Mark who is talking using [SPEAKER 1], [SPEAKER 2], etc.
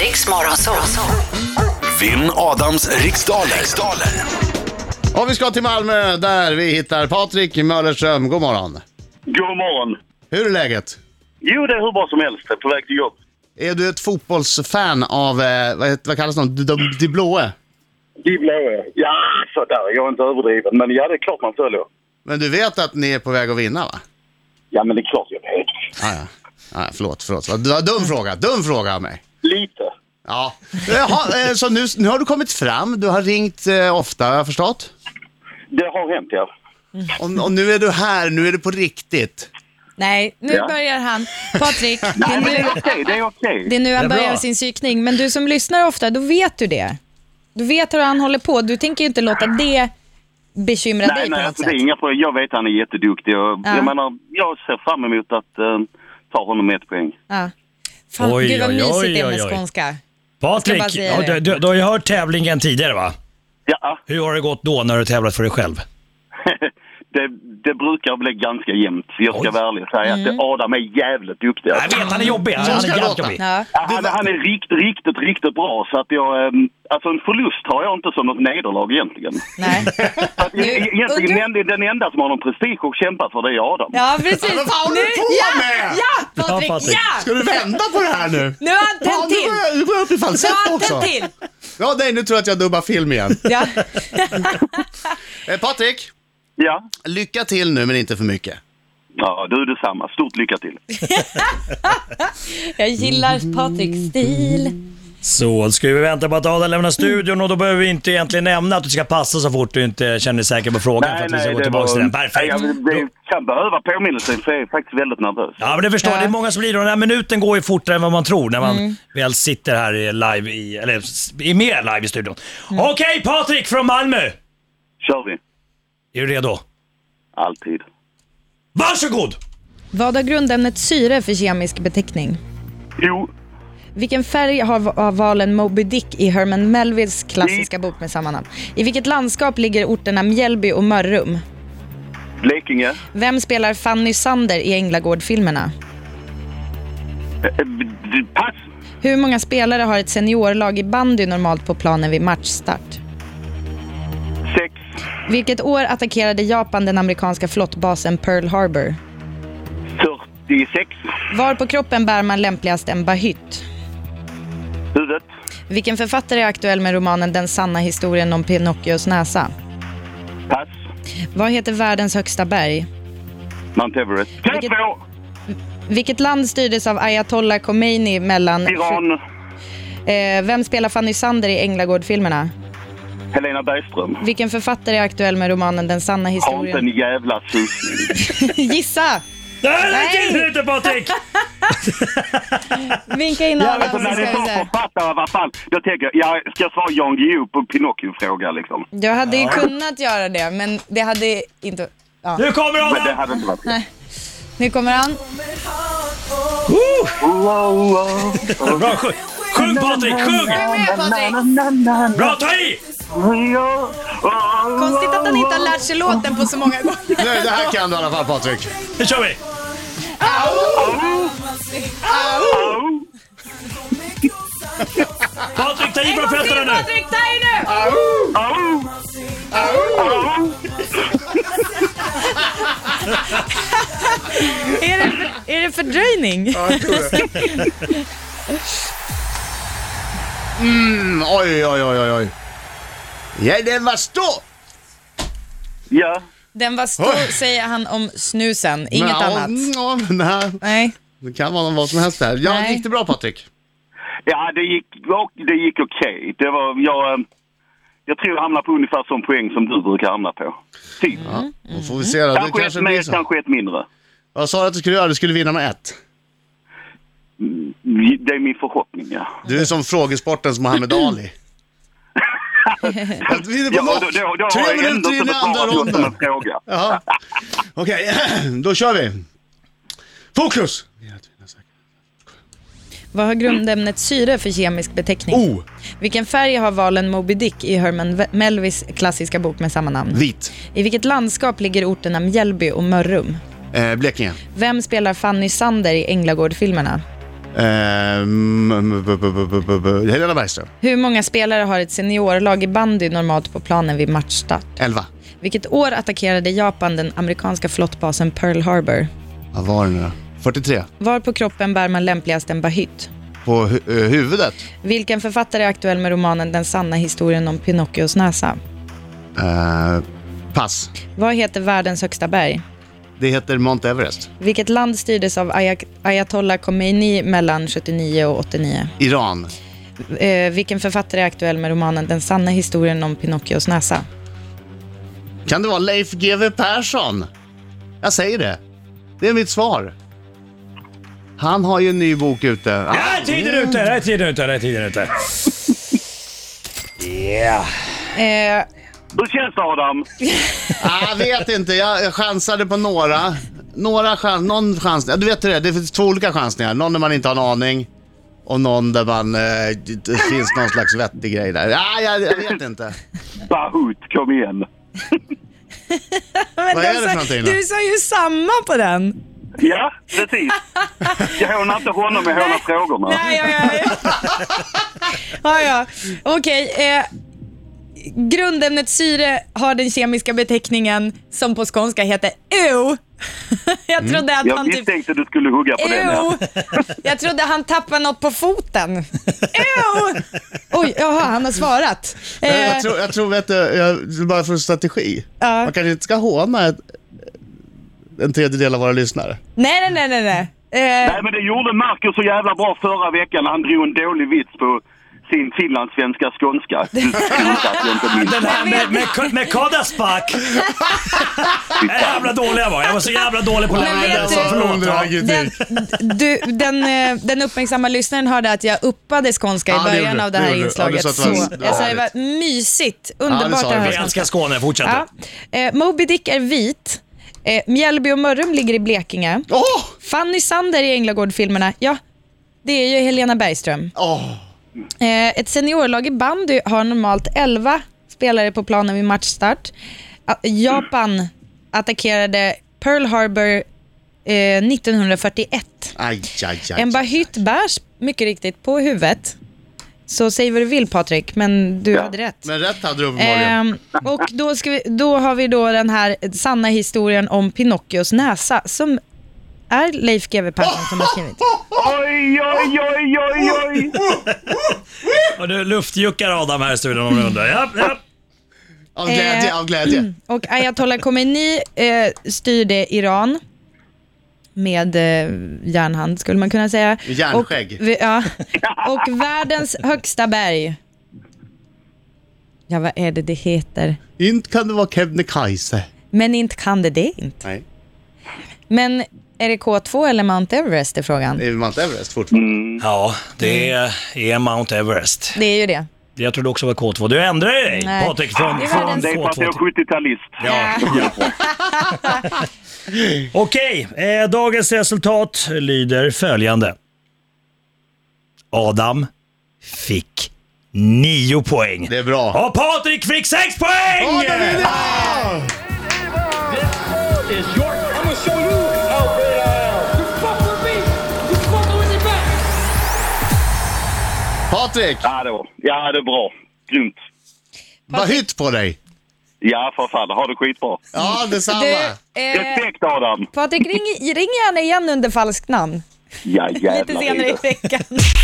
[SPEAKER 1] Riksmorgon så, så.
[SPEAKER 2] Vinn Adams riksdaler. riksdaler.
[SPEAKER 3] Och vi ska till Malmö där vi hittar Patrik Möllerström. God morgon.
[SPEAKER 4] God morgon.
[SPEAKER 3] Hur är läget?
[SPEAKER 4] Jo, det är hur bra som helst. Jag är på väg till jobb.
[SPEAKER 3] Är du ett fotbollsfan av, eh, vad, heter- vad kallas de, de, de, de blåe?
[SPEAKER 4] De blåa. Ja, sådär. Jag är inte överdriven. Men ja, det är klart man följer.
[SPEAKER 3] Men du vet att ni är på väg att vinna va?
[SPEAKER 4] Ja, men det är klart jag vet.
[SPEAKER 3] Ah, ja. Ah, förlåt, förlåt. Vad- vad Dum fråga, dum fråga av mig.
[SPEAKER 4] Lite.
[SPEAKER 3] Ja. Jaha, eh, så nu, nu har du kommit fram, du har ringt eh, ofta har jag förstått.
[SPEAKER 4] Det har hänt, ja.
[SPEAKER 3] Och, och nu är du här, nu är du på riktigt.
[SPEAKER 5] Nej, nu
[SPEAKER 4] Ja.
[SPEAKER 5] börjar han. Patrik, det
[SPEAKER 4] Nej,
[SPEAKER 5] är
[SPEAKER 4] men det är
[SPEAKER 5] nu,
[SPEAKER 4] okej. Det är okej.
[SPEAKER 5] det är nu
[SPEAKER 3] Det är
[SPEAKER 5] han
[SPEAKER 3] bra.
[SPEAKER 5] börjar sin psykning. Men du som lyssnar ofta, då vet du det. Du vet hur han håller på. Du tänker ju inte låta det bekymra
[SPEAKER 4] Nej,
[SPEAKER 5] dig på
[SPEAKER 4] nej,
[SPEAKER 5] något
[SPEAKER 4] alltså, det är
[SPEAKER 5] sätt.
[SPEAKER 4] inga problem. Jag vet att han är jätteduktig. Och,
[SPEAKER 5] Ja.
[SPEAKER 4] Jag menar, jag ser fram emot att eh, ta honom med ett poäng.
[SPEAKER 5] Ja. Fan,
[SPEAKER 6] Oj,
[SPEAKER 5] gud vad
[SPEAKER 6] oj,
[SPEAKER 5] mysigt
[SPEAKER 6] oj,
[SPEAKER 5] det är med
[SPEAKER 6] oj, oj.
[SPEAKER 5] skånska. Jag
[SPEAKER 6] Patrik,
[SPEAKER 5] ska bara säga
[SPEAKER 6] ja,
[SPEAKER 5] det.
[SPEAKER 6] du, du, du har ju hört tävlingen tidigare va?
[SPEAKER 4] Ja,
[SPEAKER 6] Hur har det gått då när du tävlat för dig själv?
[SPEAKER 4] det, det brukar bli ganska jämnt. Jag ska
[SPEAKER 6] Oj.
[SPEAKER 4] vara ärlig och säga att det- Adam är jävligt duktig. alltså.
[SPEAKER 6] Jag vet, han är jobbig. Han,
[SPEAKER 3] Så
[SPEAKER 6] han
[SPEAKER 3] ska
[SPEAKER 6] är
[SPEAKER 3] det
[SPEAKER 6] jävligt
[SPEAKER 3] låta.
[SPEAKER 6] jobbig.
[SPEAKER 5] Ja.
[SPEAKER 4] Ja, Han, han är riktigt, riktigt, riktigt bra. Så att jag, ehm, alltså en förlust har jag inte som något nederlag egentligen.
[SPEAKER 5] Nej.
[SPEAKER 4] Att
[SPEAKER 5] Nu-
[SPEAKER 4] e- egentligen
[SPEAKER 5] Eh, undrar-
[SPEAKER 4] den, enda- den enda som har någon prestige och kämpar för det är Adam.
[SPEAKER 5] Ja, precis.
[SPEAKER 3] Men vad håller du på med?
[SPEAKER 5] Ja, Patrik,
[SPEAKER 6] Ja, Patrik.
[SPEAKER 5] ja!
[SPEAKER 3] Ska du vända på det här nu?
[SPEAKER 5] Nu har han
[SPEAKER 3] Ja,
[SPEAKER 5] tänt
[SPEAKER 3] nu går
[SPEAKER 5] till.
[SPEAKER 3] jag, nu går jag upp i
[SPEAKER 5] Nu har
[SPEAKER 3] falsett
[SPEAKER 5] han
[SPEAKER 3] också.
[SPEAKER 5] tänt till.
[SPEAKER 3] Ja, nej, nu tror jag att jag dubbar film igen.
[SPEAKER 5] Ja.
[SPEAKER 3] Eh, Patrik,
[SPEAKER 4] Ja.
[SPEAKER 3] lycka till nu men inte för mycket.
[SPEAKER 4] ja, du detsamma. Stort lycka till.
[SPEAKER 5] Jag gillar Patriks stil.
[SPEAKER 6] Så, då ska vi vänta på att Adam lämnar
[SPEAKER 5] Mm.
[SPEAKER 6] studion och då behöver vi inte egentligen nämna att du ska passa så fort du inte känner dig säker på frågan för att vi ska gå tillbaka till den.
[SPEAKER 4] Nej,
[SPEAKER 6] Perfekt.
[SPEAKER 4] jag det kan behöva påminnelsen för jag är faktiskt väldigt nervös.
[SPEAKER 6] Ja, men det förstår jag. Det är många som blir då. Den här minuten går ju fortare än vad man tror när man
[SPEAKER 5] Mm.
[SPEAKER 6] väl sitter här i live i, eller s- är med live i studion.
[SPEAKER 5] Mm.
[SPEAKER 6] Okej, Patrik från Malmö!
[SPEAKER 4] Kör vi.
[SPEAKER 6] Är du redo?
[SPEAKER 4] Alltid.
[SPEAKER 6] Varsågod!
[SPEAKER 5] Vad har grundämnet syre för kemisk beteckning?
[SPEAKER 4] Jo,
[SPEAKER 5] Vilken färg har har valen Moby Dick i Herman Melvilles klassiska bok med samma namn? I vilket landskap ligger orterna Mjällby och Mörrum?
[SPEAKER 4] Blekinge.
[SPEAKER 5] Vem spelar Fanny Sander i Änglagård-filmerna?
[SPEAKER 4] Eh, eh, d- Pass.
[SPEAKER 5] Hur många spelare har ett seniorlag i bandy normalt på planen vid matchstart?
[SPEAKER 4] Sex.
[SPEAKER 5] Vilket år attackerade Japan den amerikanska flottbasen Pearl Harbor?
[SPEAKER 4] 46.
[SPEAKER 5] Var på kroppen bär man lämpligast en bahytt?
[SPEAKER 4] Huvudet.
[SPEAKER 5] Vilken författare är aktuell med romanen Den sanna historien om Pinocchios näsa?
[SPEAKER 4] Pass.
[SPEAKER 5] Vad heter världens högsta berg?
[SPEAKER 4] Mount Everest.
[SPEAKER 5] Vilket-
[SPEAKER 4] Tempo!
[SPEAKER 5] Vilket land styrdes av ayatollah Khomeini mellan...
[SPEAKER 4] Iran.
[SPEAKER 5] Eh, vem spelar Fanny Sander i Änglagård-filmerna?
[SPEAKER 4] Helena Bergström.
[SPEAKER 5] Vilken författare är aktuell med romanen Den sanna
[SPEAKER 4] Har inte en
[SPEAKER 5] historien?
[SPEAKER 4] jävla susning.
[SPEAKER 5] Gissa!
[SPEAKER 6] Nej, det
[SPEAKER 5] Nej.
[SPEAKER 6] är inte Patrik!
[SPEAKER 5] Vinka in Adam
[SPEAKER 4] Alltså
[SPEAKER 5] så
[SPEAKER 4] när det
[SPEAKER 5] ska vi
[SPEAKER 4] är
[SPEAKER 5] se.
[SPEAKER 4] författare i alla fall, då tänker jag, ja, ska jag svara Jan Guillou på Pinocchio-fråga liksom?
[SPEAKER 5] Jag hade ju kunnat göra det, men det hade inte... Ja.
[SPEAKER 6] Nu kommer
[SPEAKER 4] Men det
[SPEAKER 6] Adam!
[SPEAKER 4] hade inte varit rätt.
[SPEAKER 5] Nu kommer han.
[SPEAKER 6] Bra, sjung, sjung Patrik, sjung!
[SPEAKER 5] Kom igen Patrik!
[SPEAKER 6] Bra, ta i!
[SPEAKER 5] Konstigt att han inte har lärt sig låten på så många gånger.
[SPEAKER 3] Nej, det här kan du i alla fall Patrik.
[SPEAKER 6] Nu kör vi! Patrik, ta i från fötterna nu!
[SPEAKER 5] Patrik, ta i nu! Är det, för, är det fördröjning?
[SPEAKER 3] Mm, oj, oj, oj, oj, oj. Ja, den var stor!
[SPEAKER 4] Ja,
[SPEAKER 5] Den var stor, säger han om snusen. Inget
[SPEAKER 3] Men, ja, mm,
[SPEAKER 5] annat.
[SPEAKER 3] Ja, men det, här,
[SPEAKER 5] Nej.
[SPEAKER 3] det kan vara vad som helst där. Ja,
[SPEAKER 5] Nej.
[SPEAKER 3] gick det bra Patrik?
[SPEAKER 4] ja det gick, det gick okej. Det var, jag, eh, jag tror jag hamnade på ungefär sån poäng som du brukar hamna på. Typ.
[SPEAKER 3] Då får vi se då. Mm. Det
[SPEAKER 4] Kanske,
[SPEAKER 3] kanske
[SPEAKER 4] ett
[SPEAKER 3] blir
[SPEAKER 4] mer,
[SPEAKER 3] så.
[SPEAKER 4] kanske ett mindre.
[SPEAKER 3] Vad sa du att du skulle göra? Du skulle vinna med ett.
[SPEAKER 4] Det är min förhoppning, ja.
[SPEAKER 3] Du är som frågesportens Muhammed Ali. Jag vinner på
[SPEAKER 4] ja
[SPEAKER 3] noll.
[SPEAKER 4] då, då, då har
[SPEAKER 3] Tre
[SPEAKER 4] jag
[SPEAKER 3] minuter
[SPEAKER 4] ändå inte
[SPEAKER 3] in i andra
[SPEAKER 4] besvarat något som en
[SPEAKER 3] ronden.
[SPEAKER 4] fråga.
[SPEAKER 3] Ja. Okej, då kör vi. Fokus!
[SPEAKER 5] Vad har grundämnet syre för kemisk beteckning?
[SPEAKER 3] O.
[SPEAKER 5] Vilken färg har valen Moby Dick i Herman Ve- Melvilles klassiska bok med samma namn?
[SPEAKER 3] Vit.
[SPEAKER 5] I vilket landskap ligger orterna Mjällby och Mörrum?
[SPEAKER 3] Eh, Blekinge.
[SPEAKER 5] Vem spelar Fanny Sander i Änglagård-filmerna?
[SPEAKER 3] Ehm, b- b- b- b- b- b- Helena Bergström,
[SPEAKER 5] Hur många spelare har ett seniorlag i bandy normalt på planen vid matchstart?
[SPEAKER 3] 11.
[SPEAKER 5] Vilket år attackerade Japan den amerikanska flottbasen Pearl Harbor?
[SPEAKER 3] Vad var det nu då? 43.
[SPEAKER 5] Var på kroppen bär man lämpligast en bahytt?
[SPEAKER 3] På hu- eh, huvudet.
[SPEAKER 5] Vilken författare är aktuell med romanen Den sanna historien om Pinocchios näsa?
[SPEAKER 3] Eh, pass.
[SPEAKER 5] Vad heter världens högsta berg?
[SPEAKER 3] Det heter Mount Everest.
[SPEAKER 5] Vilket land styrdes av Ayat- Ayatollah Khomeini mellan 79 och 89?
[SPEAKER 3] Iran.
[SPEAKER 5] Eh, vilken författare är aktuell med romanen Den sanna historien om Pinocchios näsa?
[SPEAKER 3] Kan det vara Leif GW Persson? Jag säger det. Det är mitt svar. Han har ju en ny bok ute.
[SPEAKER 6] Där är tiden ute, där är tiden ute, där är tiden ute. Yeah.
[SPEAKER 5] Eh,
[SPEAKER 4] Hur känns det Adam?
[SPEAKER 3] Ah, jag vet inte, jag jag chansade på några. Några chans, någon chans. Ja, Du vet hur det, är. det finns två olika chansningar. Någon där man inte har en aning och någon där man, eh, det det finns någon slags vettig grej där. Ah, jag, jag vet inte.
[SPEAKER 4] Bahut, kom igen.
[SPEAKER 5] men
[SPEAKER 3] Vad
[SPEAKER 5] du
[SPEAKER 3] är det för
[SPEAKER 5] sa-
[SPEAKER 3] någonting då?
[SPEAKER 5] Du sa ju samma på den.
[SPEAKER 4] Ja, precis. Jag hånar inte honom, jag hånar frågorna.
[SPEAKER 5] Nej, ja, ja, ja. ja, ja. Okej. eh, grundämnet syre har den kemiska beteckningen som på skånska heter EU. Jag trodde att
[SPEAKER 4] Jag
[SPEAKER 5] han typ...
[SPEAKER 4] misstänkte du skulle hugga på den. ja.
[SPEAKER 5] Ew. Jag trodde han tappade något på foten. Ew. Oj, jaha, han har svarat.
[SPEAKER 3] Jag,
[SPEAKER 5] Eh,
[SPEAKER 3] jag tror, jag tror vet du, jag, bara för strategi.
[SPEAKER 5] Ja.
[SPEAKER 3] Man kanske inte ska håna ett, en tredjedel av våra lyssnare.
[SPEAKER 5] nej, nej, nej, nej. nej. Eh,
[SPEAKER 4] Nej, men det gjorde Marcus så jävla bra förra veckan när han drog en dålig vits på sin finlandssvenska skånska. Du skrattar att jag inte minns.
[SPEAKER 6] Den här med, med, med Kadaspak. jävla dålig jag var. Jag var så jävla dålig på att
[SPEAKER 5] Men
[SPEAKER 6] lämna
[SPEAKER 5] vet
[SPEAKER 6] den. Så
[SPEAKER 5] du-
[SPEAKER 6] förlåt. Ja.
[SPEAKER 5] den, du, den, eh, den uppmärksamma lyssnaren hörde att jag uppade skånska i
[SPEAKER 3] Ja, det
[SPEAKER 5] början
[SPEAKER 3] gjorde du,
[SPEAKER 5] av det här
[SPEAKER 3] det gjorde du. Ja, du
[SPEAKER 5] inslaget.
[SPEAKER 3] sa att det var-
[SPEAKER 5] så,
[SPEAKER 3] det var
[SPEAKER 5] jag sa det
[SPEAKER 3] härligt.
[SPEAKER 5] var mysigt,
[SPEAKER 3] Ja, det
[SPEAKER 5] underbart
[SPEAKER 3] sa
[SPEAKER 5] att
[SPEAKER 3] du.
[SPEAKER 6] Vi
[SPEAKER 5] höra
[SPEAKER 6] älskar
[SPEAKER 5] skånska.
[SPEAKER 6] Skåne, fortsätt.
[SPEAKER 5] Ja. Eh, Moby Dick är vit. Eh, Mjällby och Mörrum ligger i Blekinge.
[SPEAKER 3] Åh!
[SPEAKER 5] Fanny Sander i Änglagård-filmerna, ja, det är ju Helena Bergström.
[SPEAKER 3] Åh!
[SPEAKER 5] Eh, ett seniorlag i bandy har normalt 11 spelare på planen vid matchstart. A- Japan attackerade Pearl Harbor eh, 1941.
[SPEAKER 3] Aj, aj, aj.
[SPEAKER 5] En bahytt bärs mycket riktigt på huvudet. Så säg vad du vill Patrik, men du hade rätt.
[SPEAKER 3] Men rätt hade du uppenbarligen.
[SPEAKER 5] Ehm, och då, ska vi, då har vi då den här sanna historien om Pinocchios näsa som är Leif GW Persson som har skrivit.
[SPEAKER 3] Ah!
[SPEAKER 4] Oj, oj, oj, oj, oj!
[SPEAKER 6] Och du luftjuckar Adam här i studion om du undrar. Ja, ja.
[SPEAKER 3] Av glädje,
[SPEAKER 5] eh,
[SPEAKER 3] av glädje.
[SPEAKER 5] Och Ayatollah Khomeini eh, styrde Iran med eh, järnhand skulle man kunna säga.
[SPEAKER 3] Med järnskägg.
[SPEAKER 5] Och, vi- ja. och världens högsta berg. Ja, vad är det det heter?
[SPEAKER 3] Inte kan det vara Kebnekaise.
[SPEAKER 5] Men inte kan det det inte.
[SPEAKER 3] Nej.
[SPEAKER 5] Men är det K2 eller Mount Everest är frågan?
[SPEAKER 3] Det är Mount Everest fortfarande.
[SPEAKER 6] ja, det
[SPEAKER 5] Mm.
[SPEAKER 6] är- är Mount Everest.
[SPEAKER 5] Det är ju det.
[SPEAKER 6] Jag trodde också det var K2. Du ändrade dig
[SPEAKER 5] Nej.
[SPEAKER 6] Patrik från,
[SPEAKER 5] Det var
[SPEAKER 6] från
[SPEAKER 5] den-
[SPEAKER 4] Det är för
[SPEAKER 6] K2
[SPEAKER 4] att jag är
[SPEAKER 6] till
[SPEAKER 4] 70-talist.
[SPEAKER 6] Ja. Okej, eh, dagens resultat lyder följande. Adam fick nio poäng.
[SPEAKER 3] Det är bra.
[SPEAKER 6] Och Patrik fick sex poäng!
[SPEAKER 3] Åh, där vinner jag!
[SPEAKER 1] is your. I'm gonna show you how great I am. You fuck with me, you fuck with your back.
[SPEAKER 3] Patrik,
[SPEAKER 4] Ja, det var- ja, det är bra. Grymt.
[SPEAKER 3] vad hytt på dig.
[SPEAKER 4] Ja, för fan. Ha det skitbra.
[SPEAKER 3] Ja, detsamma.
[SPEAKER 5] Du, eh,
[SPEAKER 4] Respekt, Adam!
[SPEAKER 5] Patrik, ring, ring gärna igen under falskt namn.
[SPEAKER 4] Ja, jävlar.
[SPEAKER 5] Lite senare i veckan.